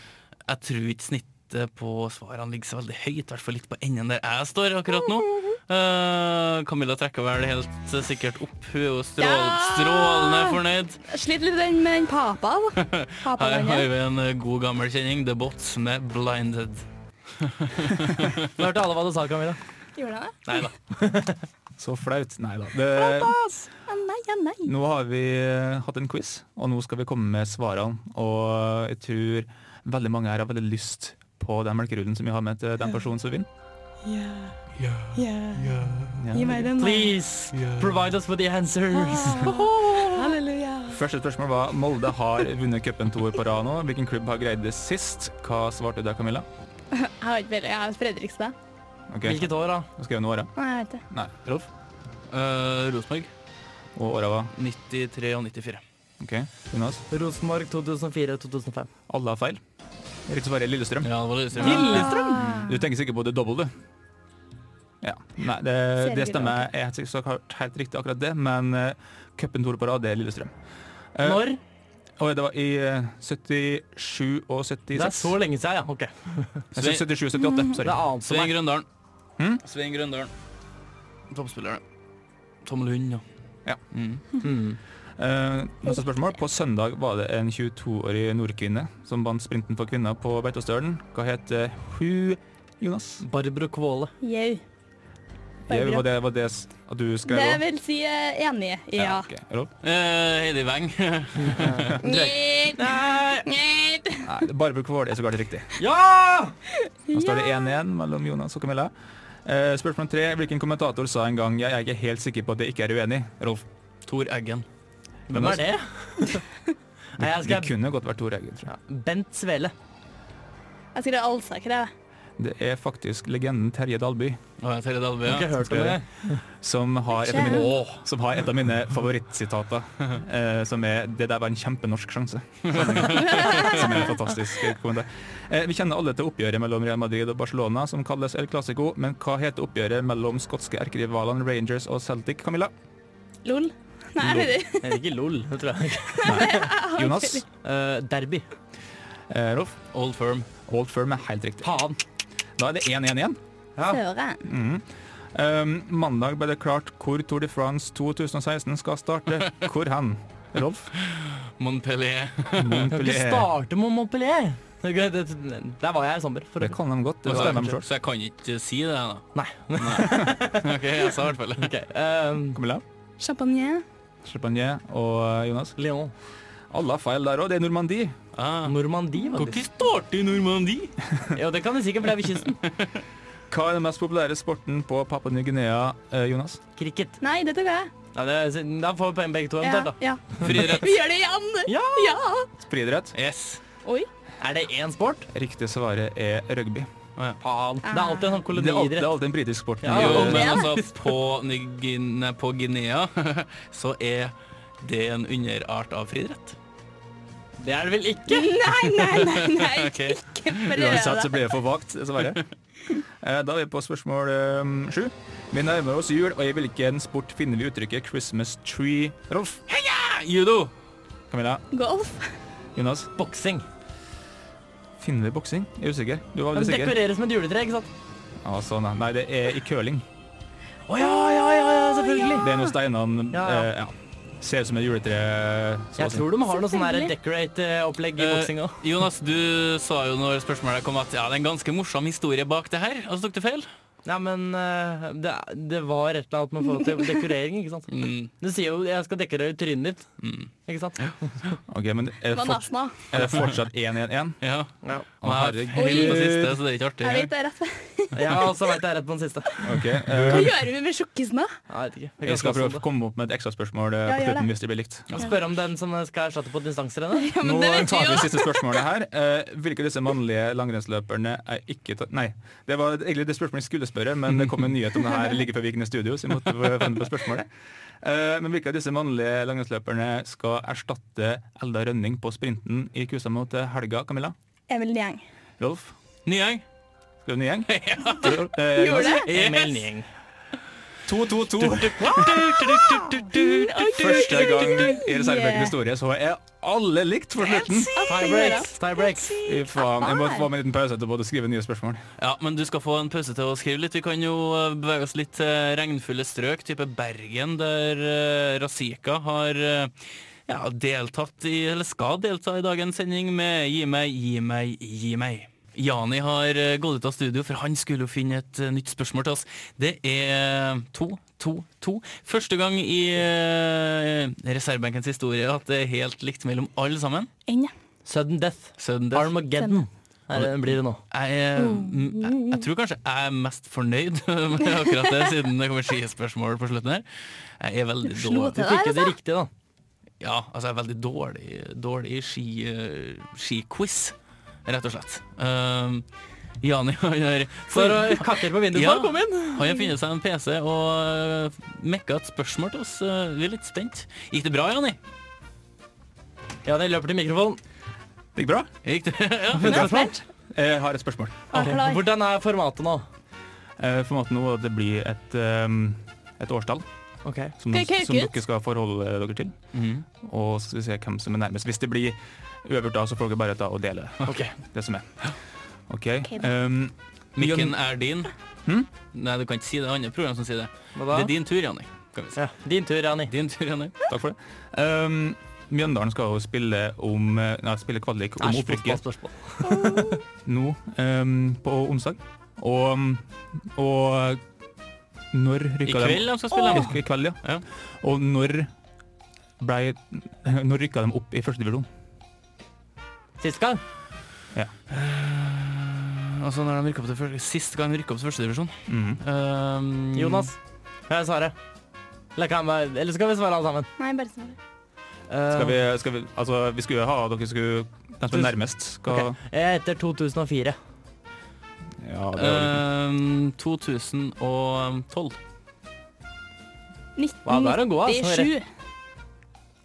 C: Jeg tror ikke snittet på svarene ligger så veldig høyt, i hvert fall litt på enden der jeg står akkurat nå. Eh, Camilla trekker vel helt sikkert opp. Hun er jo strål,
E: Ja!
C: strålende fornøyd.
E: Jeg Sliter litt den- med den papa. da.
C: Her har
E: Papaen min, ja.
C: vi en eh, god gammel kjenning, The Bots med 'Blinded'.
D: Hørte alle hva du sa, Camilla?
E: Gjorde han det?
C: Nei da.
F: Så flaut. Nei da. Det,
E: Ja, nei, ja, nei.
F: Nå har vi eh, hatt en quiz, og nå skal vi komme med svarene. Og jeg tror veldig mange her har veldig lyst på den melkerullen som vi har med til den personen som vinner. Ja.
E: Gi meg den. da.
D: Please, provide us with the answers.
E: Halleluja.
F: Første spørsmål var Molde har vunnet cupen to år på rad nå. Hvilken klubb har greid det sist? Hva svarte du der, Camilla?
E: Jeg har ikke peiling. Jeg er Fredrikstad.
F: Ok,
D: Hvilket år, da?
F: Da skrev hun åra.
E: Nei, jeg vet det.
F: Nei, Rolf.
C: Eh, Rosenborg
F: Og åra var
C: 93 og 94.
F: OK. Jonas.
D: Rosenborg 2004-2005.
F: Alle har feil. Riktig svar er Lillestrøm.
C: Ja, det var det.
D: Lillestrøm!
F: Du tenker sikkert på det double, du. Ja. Nei, det, det stemmer. Jeg er helt sikkert så klart helt riktig akkurat det, men eh, cupen to år på rad, det er Lillestrøm. Eh,
D: Når?
F: Og det var i eh, 77 og 76.
D: Det er så lenge siden, ja. Ok.
F: Jeg synes 77 og
K: Mm.
F: 78,
D: Det
F: sorry.
D: ante
C: Svein
D: meg.
C: Grøndalen.
F: Hm?
C: Svein Grøndalen. Toppspillerne. Tom Lund, ja.
F: Ja.
C: Mm.
D: Mm.
F: Eh, neste spørsmål. På søndag var det en 22-årig nordkvinne som vant sprinten for kvinner på Beitostølen. Hva heter hun, Jonas?
D: Barbro Kvåle.
E: Jau.
F: Ja,
E: Bare
F: var det, var det s- at du skrev
K: Det
F: også?
K: vil si eh, enig. Ja.
F: ok. Rolf?
C: Eh, Heidi Weng.
K: Ned, ned.
F: Nei, det er bare på Kvål er så galt riktig.
C: ja!
F: Nå står det 1-1 mellom Jonas og Camilla. Eh, spørsmål tre. Hvilken kommentator sa en gang 'jeg er ikke helt sikker på at jeg ikke er uenig'? Rolf.
C: Tor Eggen.
D: Hvem er det? Nei, jeg
F: Det
D: skal
F: kunne godt vært Tor Eggen, tror jeg.
D: Bent Svele.
K: Jeg skrev Alsaker, jeg.
F: Det er faktisk legenden Terje Dalby
C: Og jeg Terje Dalby, ja.
D: hørt om det.
F: som har et av mine,
C: Åh,
F: som har et av mine favorittsitater, eh, som er 'Det der var en kjempenorsk sjanse'. som er en fantastisk kommentar. Eh, vi kjenner alle til oppgjøret mellom Real Madrid og Barcelona, som kalles El Clásico. Men hva heter oppgjøret mellom skotske erkerivalene Rangers og Celtic, Camilla?
K: Lol. Nei, jeg vet ikke.
D: Det er ikke LOL, det tror jeg.
F: Jonas?
D: Eh, derby.
F: Eh, Rolf?
C: Old Firm.
F: Old Firm er helt riktig.
D: Faen.
F: Da er det 1-1 igjen.
K: Søren.
F: Mhm. Um, mandag ble det klart hvor Tour de France 2016 skal starte. Hvor hen? Rolf?
C: Montpellier.
D: Kan ikke
F: Montpellier.
D: starte med Montpellier. Det er gøy, det- Der var jeg i sommer. For
F: Det kan de godt. Det
C: Så
F: bestemmer de
C: jeg,
F: selv.
C: så jeg kan ikke si det, da.
D: Nei.
C: OK, jeg sa i hvert fall det.
D: Ok, eh,
F: Camilla,
E: Champagne.
F: Champagne og eh, Jonas.
D: Lyon.
F: Alle har feil der òg. Det er Normandie.
C: Ah.
D: Normandie,
C: Når
D: faktisk.
C: starter Normandie?
D: Jo, det kan du sikkert, for det er ved kysten.
F: Hva er den mest populære sporten på Papua Ny-Guinea, eh, Jonas?
D: Cricket.
E: Nei, det tok jeg.
D: Ja, det, da får vi poeng begge to
E: Ja,
D: eventuelt, da.
E: ja.
C: Friidrett.
E: Vi gjør det igjen!
D: Ja!
F: Friidrett.
C: Yes.
D: Er det én sport?
F: Riktig svaret er rugby.
D: Faen. Det er alltid en
F: Det er
D: sånn
F: alltid,
D: koloniidrett.
F: alltid en britisk sport.
D: Ja,
C: Jo,
D: det
C: men altså, på, Ny- Guine- på Guinea så er det en underart av friidrett.
D: Det er det vel ikke?
E: Nei, nei, nei, nei.
C: Ok.
E: ikke prøv
F: Uansett så
E: det.
F: blir det for vagt, dessverre. Eh, Da er vi på spørsmål eh, sju. Vi nærmer oss jul, og i hvilken sport finner vi uttrykket 'Christmas tree'? Rolf?
C: Ah, Judo!
F: Camilla?
E: Golf.
F: Jonas?
D: Boksing.
F: Finner vi boksing? Jeg er usikker. Du var
D: De
F: veldig sikker.
D: dekoreres med et juletre, ikke sant?
F: Ja, sånn, ja. Nei, det er i curling.
D: Å ja, ja, ja, ja, selvfølgelig.
F: Det er noen steinene
D: Ja, ja.
F: eh, ja. Ser ut som et juletre. så å
D: Jeg
F: si.
D: tror de har noe sånn her
E: Selvfølgelig.
D: decorate-opplegg i
C: Eh,
D: boksing òg.
C: Jonas, du sa jo når spørsmålet kom at ja, det er en ganske morsom historie bak det her, og så tok du feil.
D: Nei, men eh, det, det var et eller annet med forhold til dekorering, ikke sant.
C: Mm.
D: Du sier jo 'jeg skal dekorere trynet ditt', ikke sant?
F: Ok, men er det, fort,
E: Vanasna.
F: er det fortsatt 1-1-1?
C: Ja.
D: Ja.
F: Å,
C: Jeg har feil på siste, så det er ikke artig.
E: Jeg vet det er rett.
D: Jeg har også vært der rett på den siste.
F: Ok, eh,
E: Hva gjør vi med tjukkisen, da?
D: Jeg vet ikke. Vi
F: jeg skal
D: kan slåss om
F: prøve å komme opp med et ekstraspørsmål
E: Ja,
F: eh, på
E: gjør
F: slutten
E: det.
F: hvis det blir likt.
D: det. Spørre om den som skal erstatte på distanserennet.
E: Ja, men
F: Nå
E: det vet vi
F: tar vi
E: jo.
F: siste spørsmålet her. Eh, hvilke av disse mannlige langrennsløperne er ikke ta Nei, det var egentlig det spørsmålet jeg skulle spørre, men det kom en nyhet om det her like før vi gikk inn i studio, så jeg måtte få finne på spørsmålet. Eh, men hvilke av disse mannlige langrennsløperne skal erstatte Elda Rønning på sprinten i Kusamo til helga, Camilla?
E: Emil Niang.
F: Rolf?
C: Nyheng.
F: Skal du ny gjeng? Eh,
E: Gjorde det?
D: Emil Nieng.
F: 2-2-2. Første gang i reservebøkenes historie så er alle likt for slutten.
D: Tie breaks. Tie breaks.
F: Mm. Fy faen, jeg må få meg en liten pause etterpå og skrive nye spørsmål.
C: Ja, men du skal få en pause til å skrive litt. Vi kan jo eh, bevege oss litt til regnfulle strøk, type Bergen, der eh, Razika har eh, ja, deltatt i, eller skal delta i dagens sending med Gi meg, gi meg, gi meg. Jani har eh, gått ut av studio, for han skulle jo finne et eh, nytt spørsmål til oss. Det er eh, to, to, to. Første gang i eh, reservebenkens historie at det er helt likt mellom alle sammen.
E: Enn, ja.
D: Sudden death.
C: Sudden death.
D: Armageddon. Er det, blir det nå.
C: Jeg, eh, m- jeg, jeg tror kanskje jeg er mest fornøyd med akkurat det, siden det kommer skispørsmål på slutten her. Jeg er veldig
E: Slo
C: dårlig,
E: til
D: Du
E: der,
D: fikk jo det
E: altså.
D: riktige, da.
C: ja, altså jeg er veldig dårlig, dårlig i ski, eh, skiquiz, rett og slett. Um, Jani han har
D: For å kakke på vinduet,
C: Ja.
D: ja. kom inn!
C: han har funnet seg en PC og eh, mekka et spørsmål til oss. Eh, Vi er litt spent. Gikk det bra, Jani?
D: Ja, det løper til mikrofonen.
F: Det gikk bra.
C: Gikk det? Ja.
D: Hun er spent.
F: Jeg har et spørsmål.
E: Jeg er klar.
D: Hvordan er formatet nå?
F: Eh, For måten nå at det blir et, um, et årstall
D: Ok.
F: som,
E: Skal jeg
F: som
E: kauke ut?
F: dere skal forholde dere til. Og så skal vi se hvem som er nærmest. Hvis det blir uøvert da, så får dere bare ta og dele det som er. OK.
E: Ok,
F: Um,
C: Mikken er din. Nei, du kan ikke si det. Det er andre program som sier det.
D: Hva
C: Det
D: da?
C: er din tur, Jani. Kan vi si.
D: Ja, din tur, Jani.
C: Din tur, Jani.
F: Takk for det. Um, Mjøndalen skal jo spille om eh, Nei, spille kvalik om
D: Æsj,
F: opprykket ehm,
D: fotballspørsmål.
F: nå um, på onsdag. Og, og Når rykka
C: I kveld altså, de skal spille,
F: dem?
C: dem.
F: I, I kveld, ja. Og når ble, Når rykka de opp i første divisjon?
D: Sist gang?
F: Ja.
C: Altså når de rykket opp til første, Sist gang de rykka opp til førstedivisjon.
F: Mhm.
C: Um,
D: Jonas, jeg svarer. Eller, kan jeg, eller skal vi svare alle sammen?
K: Nei, bare
E: sånn.
K: svar.
F: Skal vi, skal vi, altså, vi skulle jo ha dere skulle, De som er nærmest skal
D: Jeg heter 2004.
F: ja,
C: Ehm,
F: det var litt-
C: Um, 2012.
F: Mm.
D: Wow, da er den god, altså.
K: 97.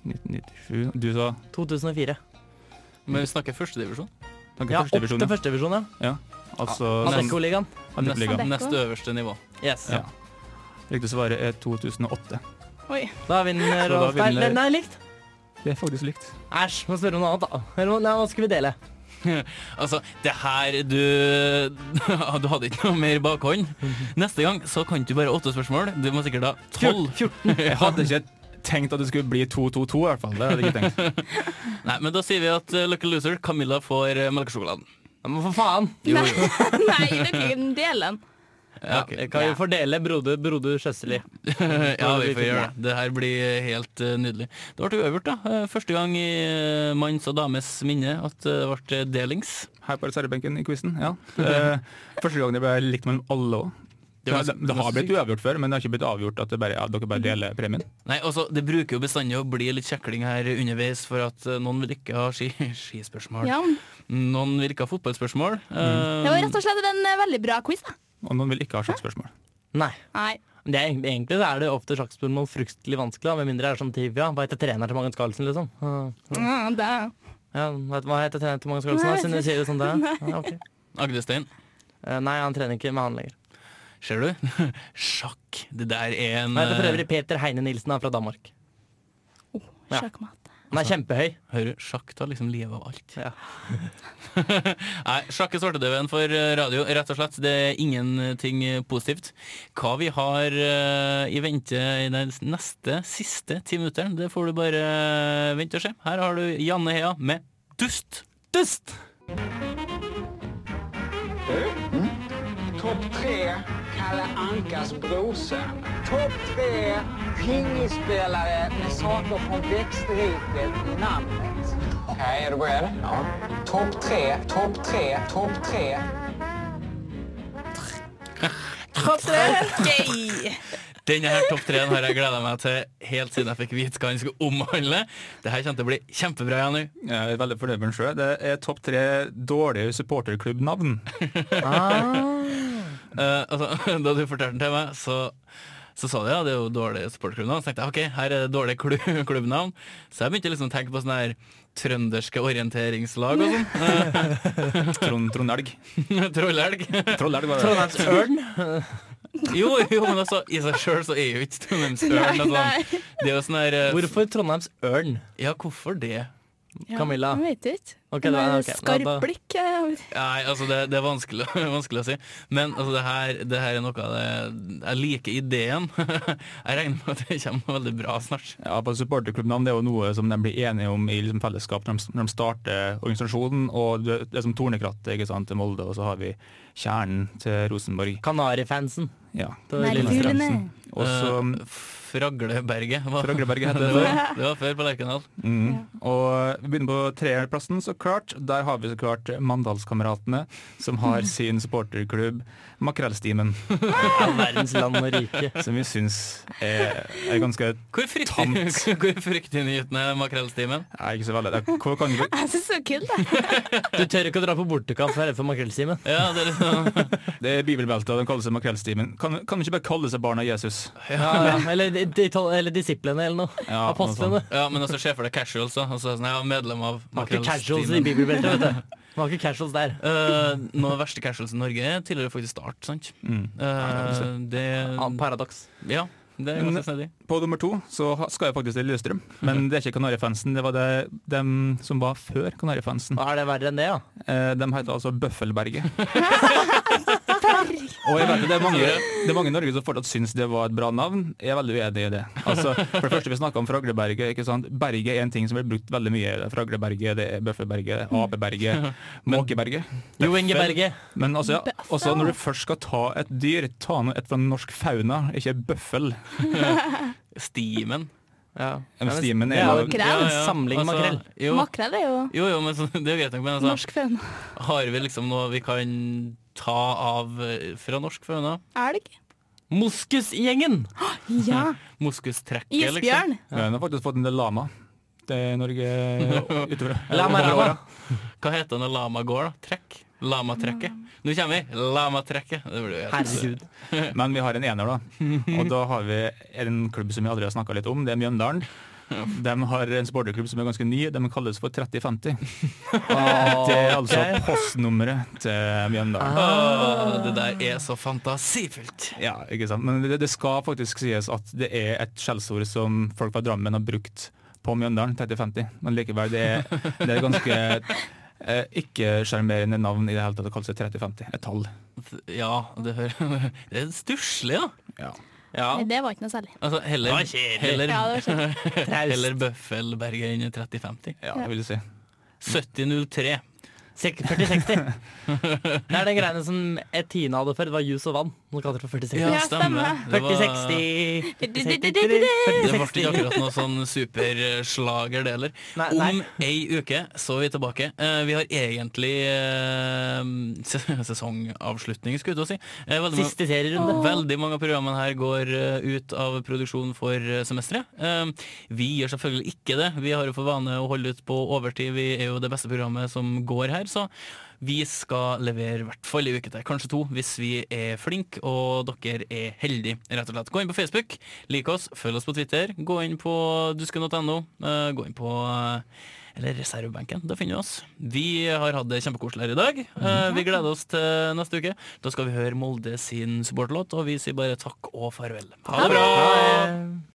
F: 1997 Du sa
D: 2004.
C: Men vi snakker førstedivisjon.
F: tanke
D: Ja,
F: første
D: opp
F: divisjon,
D: til
F: ja.
D: første divisjon, ja.
F: ja. Altså nest-
D: Adeccoligaen.
F: Adeccoligaen.
C: Nest, nest øverste nivå.
D: Yes.
F: Ja. Riktig svar er 2008.
K: Oi.
D: Da vinner
F: Så da
D: Rolf Berg.
F: vinner-
D: Nei, likt.
F: Det er faktisk likt.
D: Æsj, må spørre om noe annet, da. Eller, nei, hva skal vi dele?
C: Altså, det her Du Du hadde ikke noe mer bakhånd. Neste gang så kan du bare åtte spørsmål. Du må sikkert ha tolv.
F: Jeg hadde ikke tenkt at det skulle bli 2-2-2 i hvert fall. Det hadde jeg ikke tenkt.
C: Nei, men da sier vi at eh, Lucky Loser, Camilla får eh, melkesjokoladen.
D: Ja, Men for faen.
C: Jo, jo.
K: Nei, det blir en del den.
D: Ja, Kan vi fordele broder, broder Søsterli?
C: Ja, vi får gjøre det. Det her blir helt eh, nydelig. Det ble uavgjort, da. Eh, Første gang i eh, manns og dames minne at eh, det ble delings.
F: Her på reservebenken i quizen. Ja. Eh, Første gang det ble likt mellom alle òg.
C: Det
F: Det,
C: var
F: det, det har blitt uavgjort før, men det har ikke blitt avgjort at det bare, ja, dere bare deler premien.
C: Nei, altså, Det bruker jo bestandig å bli litt kjekling her underveis, for at eh, noen vil ikke ha ski, skispørsmål.
K: Ja. Mm.
C: Noen vil ikke ha fotballspørsmål.
K: Det var rett og slett en eh, veldig bra quiz. da.
F: Og noen vil ikke ha sjakkspørsmål.
D: Nei.
K: Nei.
D: Det er, egentlig- egentlig så er det ofte sjakkspørsmål fryktelig vanskelig, da, med mindre det er som Tivia. Hva heter treneren til Magnus Carlsen, liksom?
K: Ja, det er-
D: Ja, vet du hva heter treneren til Magnus Carlsen?
K: Nei,
D: da,
K: jeg
D: Siden du
K: vet
D: sier det sånn, det er? Ja, ok.
C: Agdestein,
D: Eh, Nei, han trener ikke med han lenger.
C: ser du? Sjakk. Det der er en
D: Han heter for
C: eh,
D: øvrig Peter Heine Nilsen, han er fra Danmark.
E: Oh,
D: Ja.
K: Sjakkmatt.
D: Han er kjempehøy.
C: Hører du, sjakk tar liksom livet av alt.
D: Ja.
C: Nei, sjakk er svartedauden for eh, radio, rett og slett. Det er ingenting eh, positivt. Hva vi har eh, i vente i den neste, siste ti minutteren, det får du bare eh, vente og se. Her har du Janne Hea med Dust. Dust!
H: Topp tre Kalle Ankas brorsa. Topp tre pingisspelare med saker från växtriket i namnet. Okej, är du beredd? Ja. Topp tre, topp tre, topp tre.
K: Gøy!
C: Denne her topp treen har jeg gleda meg til helt siden jeg fikk vite hva den skulle omhandle. Det her kommer til å bli kjempebra, Janne.
F: Jeg er veldig fornøyd med den sjøl. Det er topp tre dårlige supporterklubbnavn.
C: Eh, altså, da du fortalte den til meg, så, så sa du ja, det er jo dårlige supporterklubbnavn. Så tenkte jeg ok, her er det dårlige klu- klubbnavn. Så jeg begynte liksom å tenke på sånne her trønderske orienteringslag og sånn.
F: Trond Trondelg.
C: Trollelg.
F: Troldelg var det.
D: Trondheims Ørn.
C: Jo, jo, men altså, i seg sjøl så er jo ikke Trondheims Ørn og
K: Nei.
C: sånn. Det er jo sånn her eh,
D: Hvorfor Trondheims Ørn,
C: Ja, hvorfor det?
D: Camilla?
E: Jeg vet ikke.
D: Ok,
E: Det
D: da-
E: var
D: ok, da-
E: Skarp
D: da-
E: blikk.
K: eh,
E: jeg-
C: Nei, altså det, det er vanskelig, vanskelig å si. Men altså det, her, det her er noe av det Jeg liker ideen. Jeg regner med at det kommer veldig bra snart.
F: Ja, på Supporterklubbnavn det er jo noe som de blir enige om i liksom fellesskap når de, når de starter organisasjonen. og Det, det er som Tornekrattet ikke sant, til Molde, og så har vi kjernen til Rosenborg.
D: Kanarifansen.
F: Ja.
D: Det er
E: Merkur.
D: litt-
F: Strømsen. Og så
C: Eh, Fragleberget. var-
F: Fragleberget heter
C: Det
F: det.
C: var, det var før på Lerkendal.
F: Mm. Og vi begynner på treerplassen, så klart. Der har vi så klart Mandalskameratene, som har sin supporterklubb Makrellstimen.
D: Av verdens land og rike.
F: Som vi syns er, er ganske
C: Hvor fryktig-
F: Tamt.
C: hvor fryktinngytende er makrellstimen?
F: er ikke så veldig det er- Hvor kan vi
K: Jeg syns det var kult, det.
D: Du tør ikke å dra på bortekamp, for jeg er redd for makrellstimen.
C: Ja, det er liksom,
F: Det er bibelbeltet, og de kaller seg Makrellstimen. Kan, kan de ikke bare kalle seg barna Jesus?
D: Ja, ja. Eller, de, de, tol- eller disiplene, eller noe.
F: Ja, noe
D: Apostlene.
C: ja, men altså, se for deg casuals. da. Altså, sånn, jeg er medlem av
D: Det var ikke casuals i
C: makrellstimen.
D: bibelbeltet, vet du. Det var ikke casuals der.
C: Uh, noe av det verste casuals i Norge er tidligere faktisk Start. sant? Eh, det,
D: Ah, Paradoks.
C: ja, det er ganske snedig.
F: På nummer to så ha- skal jeg faktisk til Lillestrøm, men det er ikke Kanarifansen. Det var det, dem som var før Eh, Kanarifansen.
D: Ah, Er det verre enn det, ja?
F: Eh, De heter altså Bøffelberget. Og jeg vet at det er mange, det er mange i Norge som fortsatt syns det var et bra navn. Jeg er veldig uenig i det. Altså, for det første, vi snakka om Fragleberget. ikke sant? Berget er en ting som blir brukt veldig mye. Fragleberget, det er Bøffelberget, Apeberget, Måkeberget.
D: Jo Inge Berge.
F: Men altså, ja, også når du først skal ta et dyr, ta nå et fra norsk fauna, ikke bøffel.
C: Stimen.
D: Ja.
F: men stimen
D: Det er
F: er jo
D: jo
K: Makrell.
D: samling
C: altså,
D: makrell.
C: Jo,
K: Makrell er jo
C: jo, jo men så, det er greit nok, men altså,
K: norsk fauna.
C: har vi liksom noe vi kan ta av eh, fra norsk fauna?
K: Elg.
D: Moskusgjengen!
K: Ja.
C: Moskustrekket, liksom.
K: Isbjørn.
F: Ja, Hun har faktisk fått en del lama. Det er Norge utover.
D: Lama rama.
C: Hva heter det når lama går, da? Trekk? Lamatrekket. Nå kommer vi! Lamatrekket. Det blir jo helt-
D: Herregud.
F: Men vi har en ener, da. Og da har vi en klubb som vi aldri har snakka litt om. Det er Mjøndalen. De har en supporterklubb som er ganske ny. De kalles for 3050. Det er altså
D: Ah, Ok.
F: postnummeret til Mjøndalen.
C: Åh, det der er så fantasifullt.
F: Ja, ikke sant? Men det, det skal faktisk sies at det er et skjellsord som folk fra Drammen har brukt på Mjøndalen, 3050. Men likevel, det er, det er et ganske eh, ikke-sjarmerende navn i det hele tatt å kalle seg 3050. Et tall.
C: Ja, det, hører- det er stusslig, da.
F: Ja.
D: Ja.
K: Nei, det var ikke noe særlig.
C: Altså, heller, heller,
K: Ja, det var kjedelig.
C: heller Bøffelberget enn 3050.
F: Ja, det vil jeg si.
C: 7003.
D: Sek- 40-60. Det er den greiene som Etina hadde før. Det var juice og vann. Nå kaller de det for 40-60.
K: Ja, stemmer.
C: Det var-
D: 40-60
C: Det ble ikke
D: 40-60
C: akkurat noe sånn superslager, det heller.
D: Nei, nei.
C: Om ei uke så er vi tilbake. Eh, Vi har egentlig eh, se- sesongavslutning, skulle jeg til å si. Eh, Veldig mange-
D: Siste serierunde.
C: Veldig mange av programmene her går eh, ut av produksjon for eh, semesteret. Eh, Vi gjør selvfølgelig ikke det. Vi har jo for vane å holde ut på overtid. Vi er jo det beste programmet som går her, så vi skal levere i hvert fall en uke til, kanskje to, hvis vi er flinke og dere er heldige, rett og slett. Gå inn på Facebook, lik oss, følg oss på Twitter, gå inn på dusken.no, eh, gå inn på eh, eller reservebenken. Da finner vi oss. Vi har hatt det kjempekoselig her i dag. Eh, Vi gleder oss til neste uke. Da skal vi høre Molde sin supportlåt, og vi sier bare takk og farvel. Ha det bra!
D: Bra!